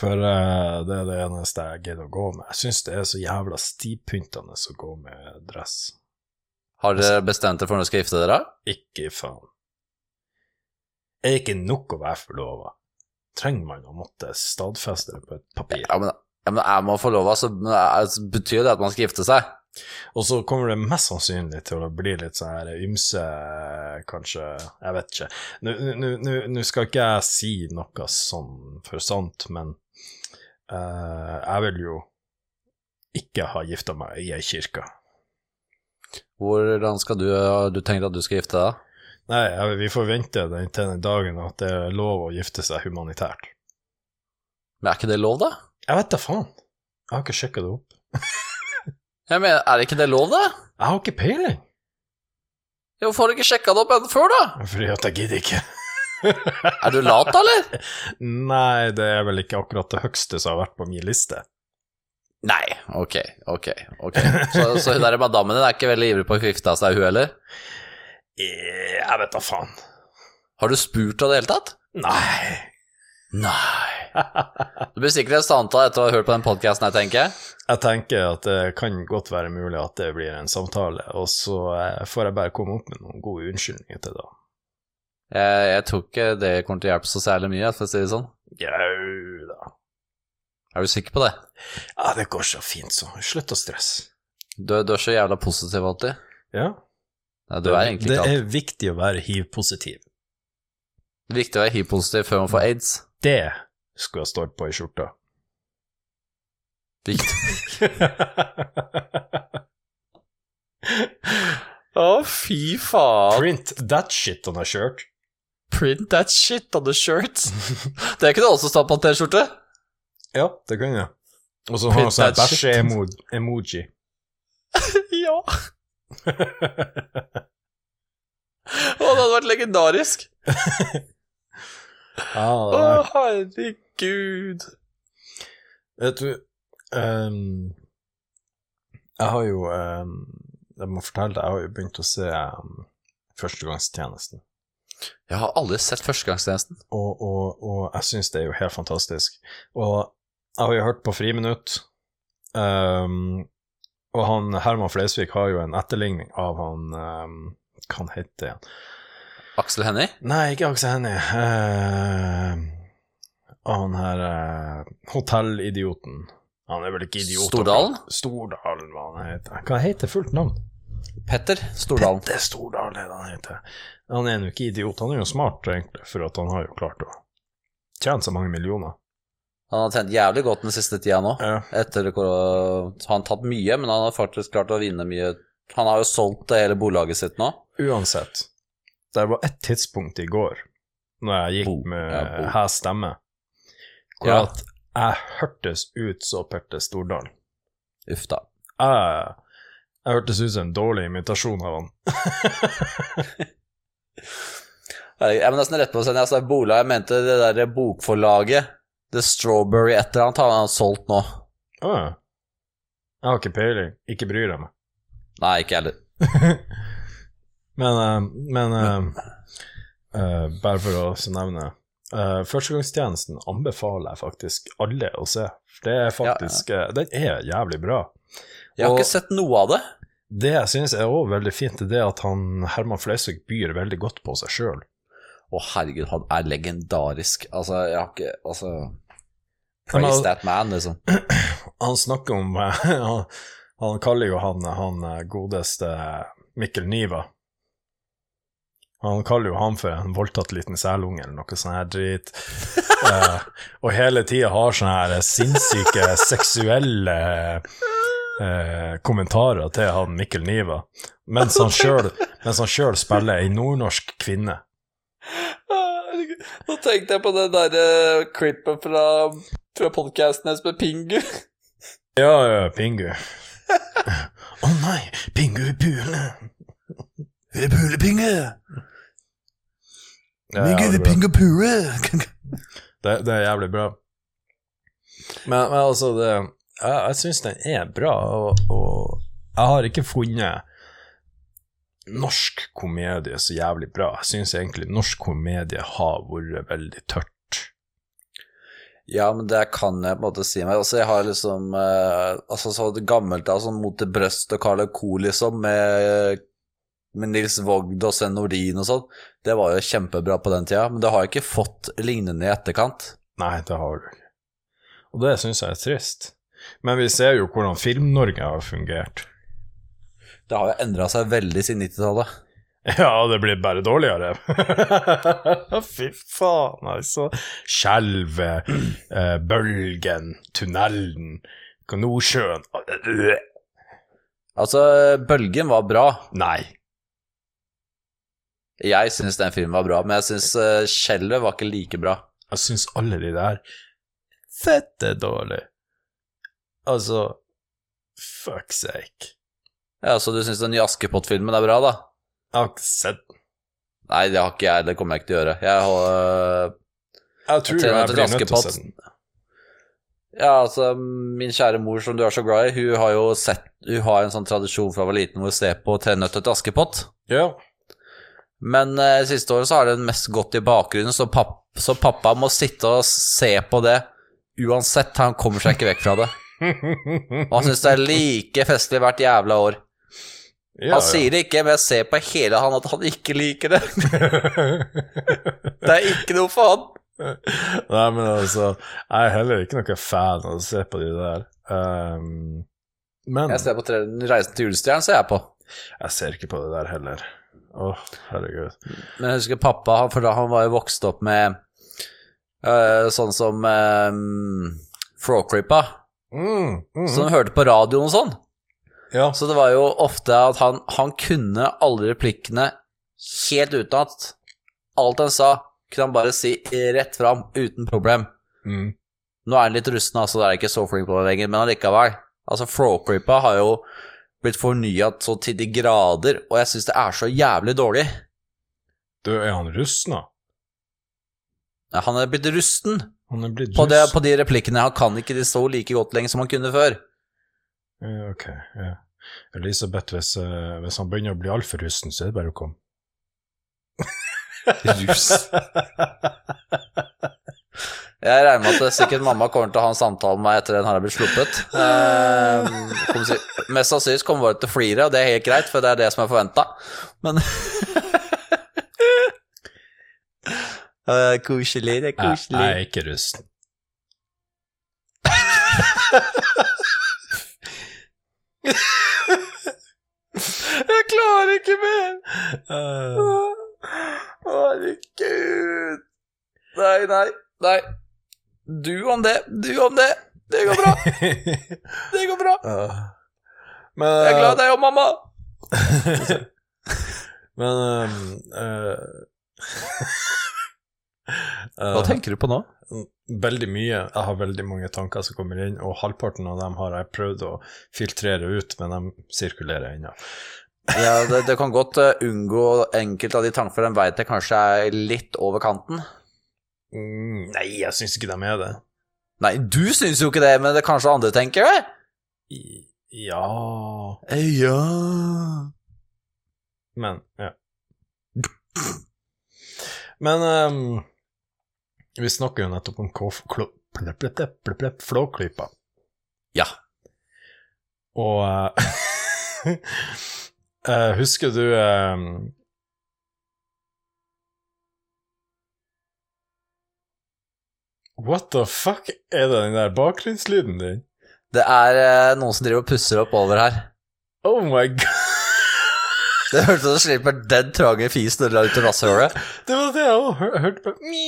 [SPEAKER 7] For eh, det er det eneste jeg gidder å gå med. Jeg syns det er så jævla stivpyntende å gå med dress.
[SPEAKER 8] Har dere bestemt dere for når dere skal gifte dere?
[SPEAKER 7] Ikke faen. Er det ikke nok å være forlova? Trenger man å måtte stadfeste det på et papir?
[SPEAKER 8] Ja, men, ja, altså. men er man forlova, så er- så betyr det at man skal gifte seg.
[SPEAKER 7] Og så kommer det mest sannsynlig til å bli litt sånn her ymse, kanskje, jeg vet ikke. Nå- nå- nå- Nå skal ikke jeg si noe sånn for sant, men eh, jeg vil jo ikke ha gifta meg i ei kirke.
[SPEAKER 8] Hvordan skal du eh, Du tenker at du skal gifte deg?
[SPEAKER 7] Nei, jeg, vi får vente den, til den dagen at det er lov å gifte seg humanitært.
[SPEAKER 8] Men er ikke det lov, da?
[SPEAKER 7] Jeg vet da faen. Jeg har ikke sjekka det opp.
[SPEAKER 8] Jeg mener, Er det ikke det lov, da?
[SPEAKER 7] Jeg har ikke peiling,
[SPEAKER 8] Ja, Hvorfor har du ikke sjekka det opp enn før, da?
[SPEAKER 7] fordi at jeg gidder ikke.
[SPEAKER 8] Er du lat, da, eller?
[SPEAKER 7] Nei, det er vel ikke akkurat det høgste som har vært på min liste.
[SPEAKER 8] Nei, ok, ok. ok. Så, så hun der madammen din er ikke veldig ivrig på å gifte seg, hun heller?
[SPEAKER 7] Eh, Jeg vet da faen.
[SPEAKER 8] Har du spurt henne i det hele tatt?
[SPEAKER 7] Nei.
[SPEAKER 8] Nei. Du blir sikkert en samtale etter å ha hørt på den podkasten her, tenker jeg.
[SPEAKER 7] Jeg tenker at det kan godt være mulig at det blir en samtale, og så eh, får jeg bare komme opp med noen gode unnskyldninger til det.
[SPEAKER 8] Jeg, jeg tror ikke det kommer til å hjelpe så særlig mye, for å si det sånn.
[SPEAKER 7] Jau da.
[SPEAKER 8] Er du sikker på det?
[SPEAKER 7] Ja, det går så fint, så. Slutt å stresse.
[SPEAKER 8] Du, du er så jævla positiv alltid.
[SPEAKER 7] Ja.
[SPEAKER 8] Nei, du er egentlig ikke
[SPEAKER 7] det
[SPEAKER 8] alltid.
[SPEAKER 7] er viktig å være hiv-positiv.
[SPEAKER 8] Det er viktig å være hiv-positiv før man får aids.
[SPEAKER 7] Det skulle ha stått på i skjorta.
[SPEAKER 8] Viktig. Å, fy faen.
[SPEAKER 7] Print that shit on a shirt.
[SPEAKER 8] Print that shit on the shirt. Det kunne også stått på en T-skjorte.
[SPEAKER 7] Ja, det kan jeg. Og så
[SPEAKER 8] Print
[SPEAKER 7] har jeg sånn
[SPEAKER 8] that shit.
[SPEAKER 7] bæsje-emoji.
[SPEAKER 8] Ja. Å, det hadde vært legendarisk. Å,
[SPEAKER 7] Ah.
[SPEAKER 8] herregud.
[SPEAKER 7] Vet du ehm, Jeg har jo ehm, Jeg må fortelle deg, jeg har jo begynt å se ehm, Førstegangstjenesten.
[SPEAKER 8] Jeg har aldri sett Førstegangstjenesten.
[SPEAKER 7] Og, og, og jeg syns det er jo helt fantastisk. Og jeg har jo hørt på Friminutt, ehm, og han Herman Flesvig har jo en etterligning av han ehm, Hva han heter igjen?
[SPEAKER 8] Aksel Hennie?
[SPEAKER 7] Nei, ikke Aksel Hennie. Eh, han her eh, hotellidioten. Han er vel ikke idiot.
[SPEAKER 8] Stordalen?
[SPEAKER 7] Stordalen, hva han heter. Hva heter fullt navn?
[SPEAKER 8] Petter Stordalen.
[SPEAKER 7] Det er Stordalen det er det han heter. Han er jo ikke idiot, han er jo smart, egentlig, for at han har jo klart å tjene så mange millioner.
[SPEAKER 8] Han har tjent jævlig godt den siste tida nå.
[SPEAKER 7] Ja.
[SPEAKER 8] Etter korona- så har han tatt mye, men han har faktisk klart å vinne mye. Han har jo solgt det hele bolaget sitt nå.
[SPEAKER 7] Uansett, det var ett tidspunkt i går, når jeg
[SPEAKER 8] Bo-
[SPEAKER 7] gikk med
[SPEAKER 8] ja, bo.
[SPEAKER 7] hes stemme, hvor
[SPEAKER 8] Ja.
[SPEAKER 7] at jeg hørtes ut som Petter Stordalen.
[SPEAKER 8] Uff da.
[SPEAKER 7] Jeg, Ah, jeg hørtes ut som en dårlig imitasjon av han.
[SPEAKER 8] Jeg jeg må nesten rette på seg, jeg sa bolag, jeg mente det der bokforlaget. The Strawberry et eller annet har han solgt nå.
[SPEAKER 7] Å ja. Ah. Jeg har ikke peiling. Ikke bryr jeg meg.
[SPEAKER 8] Nei, ikke jeg heller.
[SPEAKER 7] Men, eh, men eh, eh, bare for å også nevne eh, Førstegangstjenesten anbefaler jeg faktisk alle å se. Det er faktisk eh, Den er jævlig bra.
[SPEAKER 8] Jeg har
[SPEAKER 7] Og-
[SPEAKER 8] ikke sett noe av det.
[SPEAKER 7] Det jeg syns er òg veldig fint, det er at han Herman Flesvig byr veldig godt på seg sjøl.
[SPEAKER 8] Å herregud, han er legendarisk. Altså, jeg har ikke Altså
[SPEAKER 7] Men
[SPEAKER 8] Praise
[SPEAKER 7] al-
[SPEAKER 8] that man, liksom.
[SPEAKER 7] Han snakker om eh, han, han kaller jo han, han eh, godeste Mikkel Niva. Han kaller jo han for en voldtatt liten selunge eller noe sånn her drit. Eh, og hele tida har sånne her sinnssyke seksuelle eh, kommentarer til han Mikkel Niva, mens han sjøl mens han sjøl spiller ei nordnorsk kvinne.
[SPEAKER 8] Herregud. Nå tenkte jeg på det derre klippet fra, fra podkasten hennes med Pingu.
[SPEAKER 7] Ja, ja, Pingu. Å nei, Pingu i pule.
[SPEAKER 8] Pulepinge!
[SPEAKER 7] Det er jævlig bra.
[SPEAKER 8] pule!
[SPEAKER 7] Det, det er jævlig bra. Men, men altså, det, jeg, jeg syns den er bra, og, og jeg har ikke funnet norsk komedie så jævlig bra. Jeg syns egentlig norsk komedie har vært veldig tørt.
[SPEAKER 8] Ja, men det kan jeg på en måte si meg. Altså, jeg har liksom eh, Altså, så gammelt av sånn Mot til brøst og Carla Co, liksom, med, med Nils Vogd og Sven Nordin og sånn, det var jo kjempebra på den tida, men det har ikke fått lignende i etterkant.
[SPEAKER 7] Nei, det har du ikke. Og det syns jeg er trist. Men vi ser jo hvordan Film-Norge har fungert.
[SPEAKER 8] Det har jo endra seg veldig siden 90-tallet.
[SPEAKER 7] Ja, det blir bare dårligere. Fy faen, altså. Skjelvet, eh, bølgen, tunnelen, Nordsjøen
[SPEAKER 8] Altså, Bølgen var bra.
[SPEAKER 7] Nei.
[SPEAKER 8] Jeg syns den filmen var bra, men jeg syns Skjelvet var ikke like bra.
[SPEAKER 7] Jeg syns alle de der fette dårlig. Altså Fuck sake.
[SPEAKER 8] Ja, Så du syns den nye Askepott-filmen er bra, da?
[SPEAKER 7] Jeg har ikke sett den.
[SPEAKER 8] Nei, det har ikke jeg. Det kommer jeg ikke til å gjøre. Jeg har... eh,
[SPEAKER 7] Jeg tror jeg,
[SPEAKER 8] Tre nøtter til
[SPEAKER 7] blir nødt til å
[SPEAKER 8] Askepott.
[SPEAKER 7] se den.
[SPEAKER 8] Ja, altså, min kjære mor som du er så glad i, hun har jo sett Hun har en sånn tradisjon fra hun var liten hvor hun ser på Tre nøtter til Askepott.
[SPEAKER 7] Ja.
[SPEAKER 8] Men eh, siste året så har den mest gått i bakgrunnen, så, papp, så pappa må sitte og se på det uansett. Han kommer seg ikke vekk fra det. Og han syns det er like festlig hvert jævla år.
[SPEAKER 7] ja,
[SPEAKER 8] Han sier det ikke, men jeg ser på hele han at han ikke liker det. Det er ikke noe for han.
[SPEAKER 7] Nei, men altså Jeg er heller ikke noen fan av å se på de der. Ehm, men
[SPEAKER 8] Jeg ser på tre, Reisen til julestjernen, ser jeg på.
[SPEAKER 7] jeg ser ikke på det der heller. Å, herregud.
[SPEAKER 8] Men jeg husker pappa, han- for da han var jo vokst opp med øh, sånn som øh, Flåklypa,
[SPEAKER 7] Mm, mm,
[SPEAKER 8] som han hørte på radioen og sånn.
[SPEAKER 7] ja.
[SPEAKER 8] Så det var jo ofte at han, han kunne alle replikkene helt utenat. Alt han sa, kunne han bare si rett fram, uten problem.
[SPEAKER 7] Mm.
[SPEAKER 8] Nå er han litt rusten, altså, det er jeg ikke så flink på det lenger, men allikevel. Altså, Flåklypa har jo blitt fornyet så til de grader, og jeg syns det er så jævlig dårlig.
[SPEAKER 7] Du, er han rustna?
[SPEAKER 8] Han er blitt rusten
[SPEAKER 7] Han er blitt
[SPEAKER 8] på, det,
[SPEAKER 7] rust...
[SPEAKER 8] på de replikkene. Han kan ikke de så like godt lenger som han kunne før.
[SPEAKER 7] Ja, ok, ja. Elisabeth, hvis, eh, hvis han begynner å bli altfor rusten, så er det bare å komme.
[SPEAKER 8] Rust. Jeg regner med at sikkert mamma kommer til å ha en samtale med meg etter den her er blitt sluppet. Ehm, kommer si- mest sannsynlig kommer hun bare til å flire, og det er helt greit, for det er det som er forventa. Men Eh, Koselig, det er
[SPEAKER 7] Jeg,
[SPEAKER 8] koselig.
[SPEAKER 7] jeg er ikke rusten.
[SPEAKER 8] Jeg klarer ikke mer!
[SPEAKER 7] Eh.
[SPEAKER 8] Herregud. Nei, nei, nei. Du om det, du om det. Det går bra, det går bra.
[SPEAKER 7] Ja. Ah. Men
[SPEAKER 8] Jeg er glad i deg og mamma.
[SPEAKER 7] Men ehm, eh, eh,
[SPEAKER 8] tenker du på nå?
[SPEAKER 7] Veldig mye. Jeg har veldig mange tanker som kommer inn, og halvparten av dem har jeg prøvd å filtrere ut, men de sirkulerer ennå.
[SPEAKER 8] Ja, det, det kan godt eh, unngå enkelte av de tankene, for den veit jeg kanskje er litt over kanten.
[SPEAKER 7] Mm, nei, jeg syns ikke de er det.
[SPEAKER 8] Nei, du syns jo ikke det, men det er kanskje andre tenker det?
[SPEAKER 7] I- Ja
[SPEAKER 8] Eh, Ja
[SPEAKER 7] Men ja. Men ehm, vi snakker jo nettopp om kåf- klo- plepp, plepp, plepp, plepp, plepp, flåklypa.
[SPEAKER 8] Ja.
[SPEAKER 7] Og eh, eh, Husker du ehm, What the fuck? Er det den der bakgrunnslyden din?
[SPEAKER 8] Det er eh, noen som driver og pusser opp over her.
[SPEAKER 7] Oh my god!
[SPEAKER 8] Det hørtes ut som slipper den trange fisen ut av rasshølet.
[SPEAKER 7] Det var det jeg òg hør, hørte på. Mjau.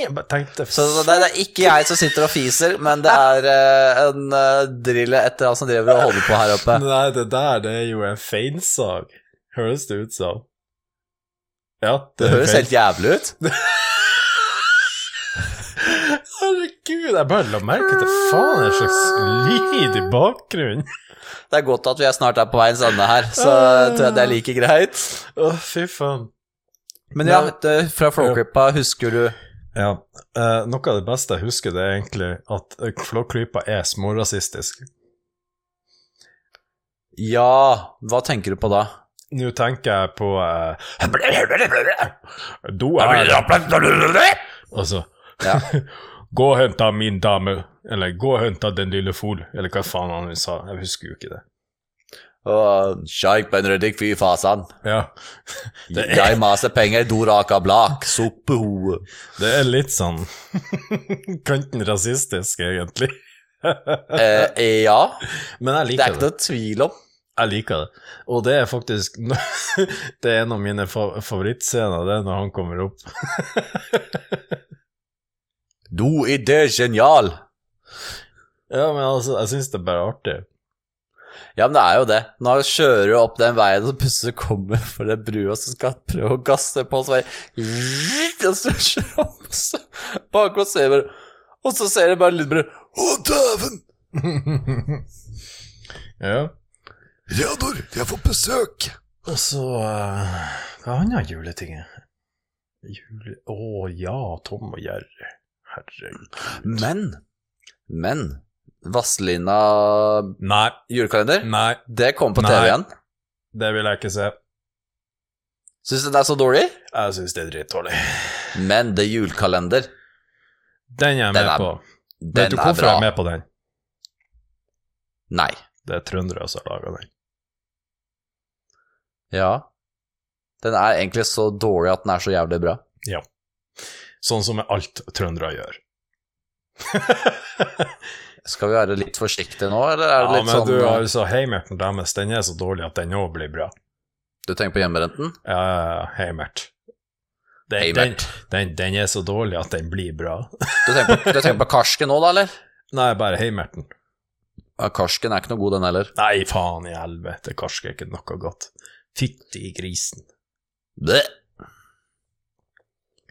[SPEAKER 7] Jeg bare tenkte
[SPEAKER 8] Så så det, det er ikke jeg som sitter og fiser, men det er eh, en eh, drille etter han som driver og holder på her oppe.
[SPEAKER 7] Nei, det der det er jo en feinsag, høres det ut som. Ja,
[SPEAKER 8] Det
[SPEAKER 7] det, er
[SPEAKER 8] høres
[SPEAKER 7] feil.
[SPEAKER 8] helt jævlig ut.
[SPEAKER 7] Herregud, jeg bare la merke til faen en slags lyd i bakgrunnen.
[SPEAKER 8] Det er godt at vi er snart er på veiens ende her, så tror jeg det er like greit.
[SPEAKER 7] Å, fy faen.
[SPEAKER 8] Men ja, det, fra Flåklypa husker du
[SPEAKER 7] Ja, eh, noe av det beste jeg husker, det er egentlig at eh, Flåklypa er smårasistisk.
[SPEAKER 8] Ja, hva tenker du på da?
[SPEAKER 7] Nå tenker jeg på eh, Do er Altså
[SPEAKER 8] Ja.
[SPEAKER 7] Gå og henta min dame, eller gå og henta den lille fol, eller hva faen han sa, jeg husker jo ikke det.
[SPEAKER 8] Åh, Sjeik Benredik, fy fasan.
[SPEAKER 7] Ja, Det er-
[SPEAKER 8] Jeg maser penger, doraka blak, soppehoe.
[SPEAKER 7] det er litt sånn kanten rasistisk, egentlig.
[SPEAKER 8] Eh, eh, ja,
[SPEAKER 7] Men jeg
[SPEAKER 8] det er
[SPEAKER 7] liker
[SPEAKER 8] ikke
[SPEAKER 7] det.
[SPEAKER 8] noe tvil om.
[SPEAKER 7] Jeg liker det. Og det er faktisk Det er en av mine fa- favorittscener, det er når han kommer opp.
[SPEAKER 8] Du idé genial.
[SPEAKER 7] Ja, men altså, jeg syns det er bare artig.
[SPEAKER 8] Ja, men det er jo det. Nå kjører du opp den veien, og så plutselig kommer for den brua som skal prøve å gasse på, og så bare Og så kjører han opp, og så bak og ser bare Og så ser jeg bare lydbrød Å, dæven!
[SPEAKER 7] ja.
[SPEAKER 8] Reodor, jeg får besøk!
[SPEAKER 7] Og så eh, Hva er annet juletinget? Jule... Å ja, Tom og Jerry. Herregud.
[SPEAKER 8] Men, men Vazelina
[SPEAKER 7] Nei.
[SPEAKER 8] julekalender,
[SPEAKER 7] Nei,
[SPEAKER 8] det kommer på
[SPEAKER 7] Nei.
[SPEAKER 8] TV igjen.
[SPEAKER 7] det vil jeg ikke se.
[SPEAKER 8] Syns du det er så dårlig?
[SPEAKER 7] Jeg syns det er drittdårlig.
[SPEAKER 8] Men det er julekalender.
[SPEAKER 7] Den er
[SPEAKER 8] Den
[SPEAKER 7] jeg med
[SPEAKER 8] er-
[SPEAKER 7] på.
[SPEAKER 8] Den
[SPEAKER 7] Vet du
[SPEAKER 8] er
[SPEAKER 7] hvorfor
[SPEAKER 8] bra.
[SPEAKER 7] jeg er med på den?
[SPEAKER 8] Nei.
[SPEAKER 7] Det er trøndere som har laga den.
[SPEAKER 8] Ja. Den er egentlig så dårlig at den er så jævlig bra.
[SPEAKER 7] Sånn som med alt trøndere gjør.
[SPEAKER 8] Skal vi være litt forsiktige nå, eller er
[SPEAKER 7] Ja,
[SPEAKER 8] det litt
[SPEAKER 7] men
[SPEAKER 8] sånn
[SPEAKER 7] du,
[SPEAKER 8] eh,
[SPEAKER 7] altså, heimerten deres, den er så dårlig at den òg blir bra.
[SPEAKER 8] Du tenker på hjemmebrenten?
[SPEAKER 7] Ja, ja, ja, heimert. Den, den,
[SPEAKER 8] Heimert.
[SPEAKER 7] den, den er så dårlig at den blir bra.
[SPEAKER 8] Du tenker, på, du tenker på karsken nå, da, eller?
[SPEAKER 7] Nei, bare heimerten.
[SPEAKER 8] Ja, karsken er ikke noe god, den heller.
[SPEAKER 7] Nei, faen i helvete, karsk er ikke noe godt. Fytti grisen.
[SPEAKER 8] Bæ.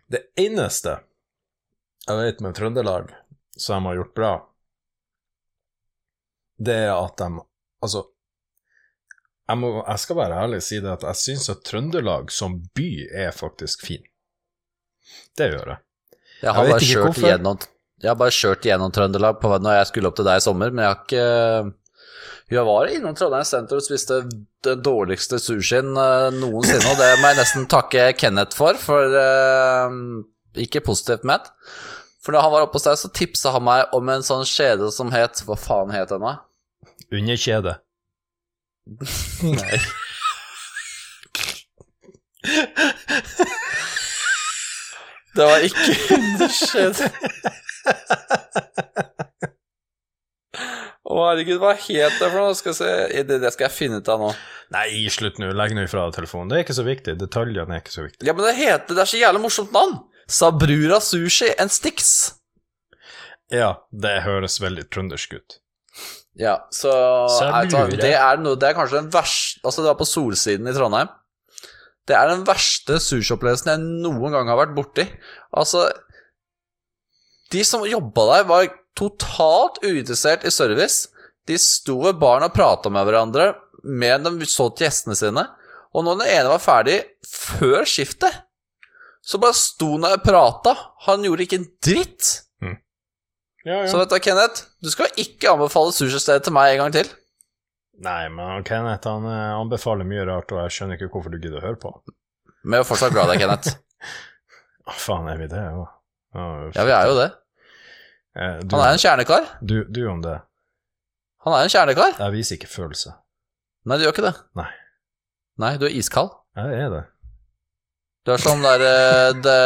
[SPEAKER 7] Det eneste jeg vet med Trøndelag som de har gjort bra, det er at de Altså, jeg, må, jeg skal være ærlig og si det at jeg syns at Trøndelag som by er faktisk fin. Det gjør jeg.
[SPEAKER 8] Jeg
[SPEAKER 7] Jeg
[SPEAKER 8] har
[SPEAKER 7] vet
[SPEAKER 8] bare
[SPEAKER 7] ikke
[SPEAKER 8] kjørt
[SPEAKER 7] hvorfor.
[SPEAKER 8] gjennom Jeg har bare kjørt gjennom Trøndelag på, når jeg skulle opp til deg i sommer, men jeg har ikke Jeg var innom Trondheim senter og spiste den dårligste sushien eh, noensinne, og det må jeg nesten takke Kenneth for, for eh, ikke positivt ment. For da han var oppe hos deg, så tipsa han meg om en sånn kjede som het Hva faen het den, da?
[SPEAKER 7] Underkjede.
[SPEAKER 8] Nei. Det var ikke underskjedd. Å, herregud, hva het det for noe? Skal jeg se. Eh, Det, det skal jeg finne ut av nå.
[SPEAKER 7] Nei, slutt nå, legg nå ifra deg telefonen. Det er ikke så viktig. Detaljene er ikke så viktig.
[SPEAKER 8] Ja, men det heter Det er så jævlig morsomt navn. Sabrura Sushi and Sticks.
[SPEAKER 7] Ja, det høres veldig trøndersk ut.
[SPEAKER 8] Ja, så
[SPEAKER 7] Sabrura.
[SPEAKER 8] vet du hva, det, er noe, det er kanskje den verste Altså, det var på Solsiden i Trondheim. Det er den verste sushiopplevelsen jeg noen gang har vært borti. Altså De som jobba der, var totalt uinteressert i service. De sto ved baren og prata med hverandre med de så til gjestene sine. Og når den ene var ferdig før skiftet, så bare sto han der og prata. Han gjorde ikke en dritt.
[SPEAKER 7] Ja,
[SPEAKER 8] Så vet du hva, Kenneth, du skal ikke anbefale sushistedet til meg en gang til.
[SPEAKER 7] Nei, men Kenneth han eh, anbefaler mye rart, og jeg skjønner ikke hvorfor du gidder å høre på.
[SPEAKER 8] Men jeg er fortsatt glad i deg, Kenneth.
[SPEAKER 7] Å, faen, er vi det òg?
[SPEAKER 8] Ja, vi er jo det.
[SPEAKER 7] Du,
[SPEAKER 8] Han er en kjernekar.
[SPEAKER 7] du, du om det.
[SPEAKER 8] Han er en kjernekar.
[SPEAKER 7] Jeg viser ikke følelse.
[SPEAKER 8] Nei, du gjør ikke det.
[SPEAKER 7] Nei.
[SPEAKER 8] Nei, du er iskald.
[SPEAKER 7] Jeg er det.
[SPEAKER 8] Du er sånn der eh, det,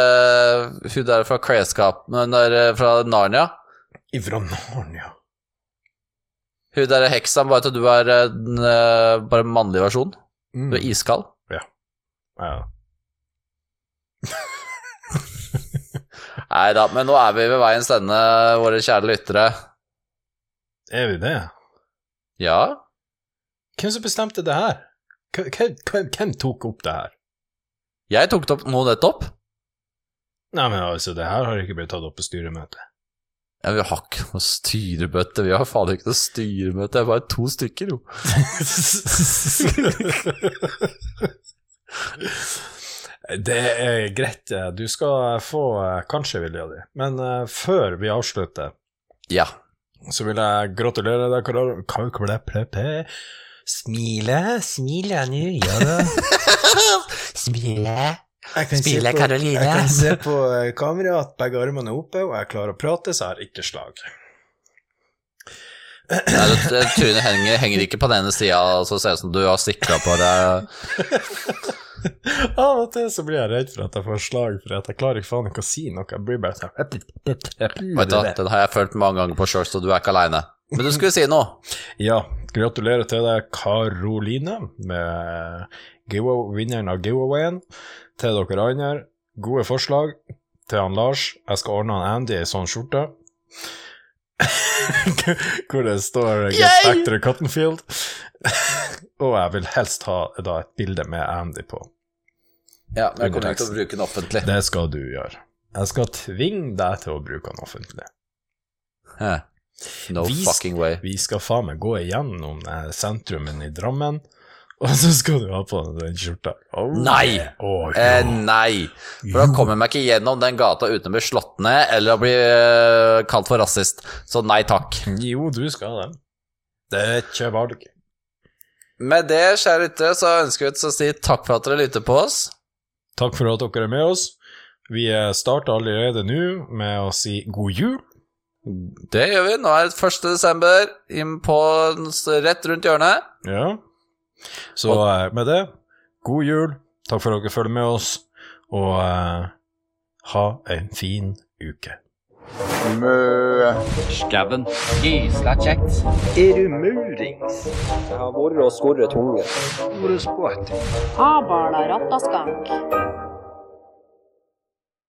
[SPEAKER 8] Hun der fra Crayskap Men hun der eh, fra Narnia.
[SPEAKER 7] Ifra Narnia.
[SPEAKER 8] Hun der heksa, bare at du er eh, den eh, bare mannlig versjon.
[SPEAKER 7] Mm.
[SPEAKER 8] Du er iskald.
[SPEAKER 7] Ja.
[SPEAKER 8] Nei da, men nå er vi ved veiens ende, våre kjære lyttere.
[SPEAKER 7] Er vi det?
[SPEAKER 8] Ja,
[SPEAKER 7] Hvem som bestemte det her? K- k- k- Hvem tok opp det her?
[SPEAKER 8] jeg tok det opp nå nettopp.
[SPEAKER 7] Nei, men altså, det her har ikke blitt tatt opp på styremøtet.
[SPEAKER 8] Ja, vi har ikke noe styremøte. Vi har faen ikke noe styremøte. Det er bare to stykker, jo.
[SPEAKER 7] Det er greit. eh, Du skal få eh, kanskje vilja di. Men eh, før vi avslutter,
[SPEAKER 8] Ja.
[SPEAKER 7] så vil jeg gratulere deg, Karol. Kan ikke bli plepe. Smile, smile nå, ja da.
[SPEAKER 8] Smile.
[SPEAKER 7] Jeg kan
[SPEAKER 8] Smile,
[SPEAKER 7] se på-
[SPEAKER 8] Karoline.
[SPEAKER 7] Jeg kan se på eh, kamera at begge armene er oppe, og jeg klarer å prate, så jeg har ikke slag.
[SPEAKER 8] Nei, det, det, trynet eh, henger, henger ikke på den ene sida, så ser det ut som du har sikra på deg
[SPEAKER 7] Av og til så blir jeg redd for at jeg får slag, for at jeg klarer ikke faen ikke å si noe. Jeg blir bare sånn
[SPEAKER 8] Vet du hva, Den har jeg følt mange ganger på sjøl, så du er ikke aleine. Men du skulle si noe.
[SPEAKER 7] Ja, gratulerer til deg, Karoline, med giveaw- vinneren av giveawayen. Til dere andre, gode forslag. Til han Lars, jeg skal ordne han Andy ei sånn skjorte. hvor det står 'Get back to the cotton field'. og jeg vil helst ha da et bilde med Andy på.
[SPEAKER 8] Ja, men jeg kommer ikke til å bruke den offentlig.
[SPEAKER 7] Det skal du gjøre. Jeg skal tvinge deg til å bruke han offentlig.
[SPEAKER 8] Hæ. No
[SPEAKER 7] Vis-
[SPEAKER 8] fucking way.
[SPEAKER 7] Vi skal faen meg gå igjennom eh, sentrumen i Drammen, og så skal du ha på deg den skjorta. Oh,
[SPEAKER 8] Nei!
[SPEAKER 7] Å, ja.
[SPEAKER 8] Eh, nei. For da kommer jeg meg ikke gjennom den gata uten å bli slått ned eller å bli eh, kalt for rasist. Så nei takk.
[SPEAKER 7] Jo, du skal det. Det er ikke valg.
[SPEAKER 8] Med det, kjære lyttere, så ønsker vi å si takk for at dere lytter på oss.
[SPEAKER 7] Takk for at dere er med oss. Vi eh, starter allerede nå med å si god jul.
[SPEAKER 8] Det gjør vi. Nå er det 1. desember, inn på, rett rundt hjørnet.
[SPEAKER 7] Ja. Så eh, med det, god jul. Takk for at dere følger med oss, og eh, ha en fin uke.
[SPEAKER 2] Skabben. Gisla kjekt.
[SPEAKER 3] Er du murings?
[SPEAKER 4] Jeg har vært og skåret tunge.
[SPEAKER 3] Hvor er spåte?
[SPEAKER 5] Abarna rattaskank.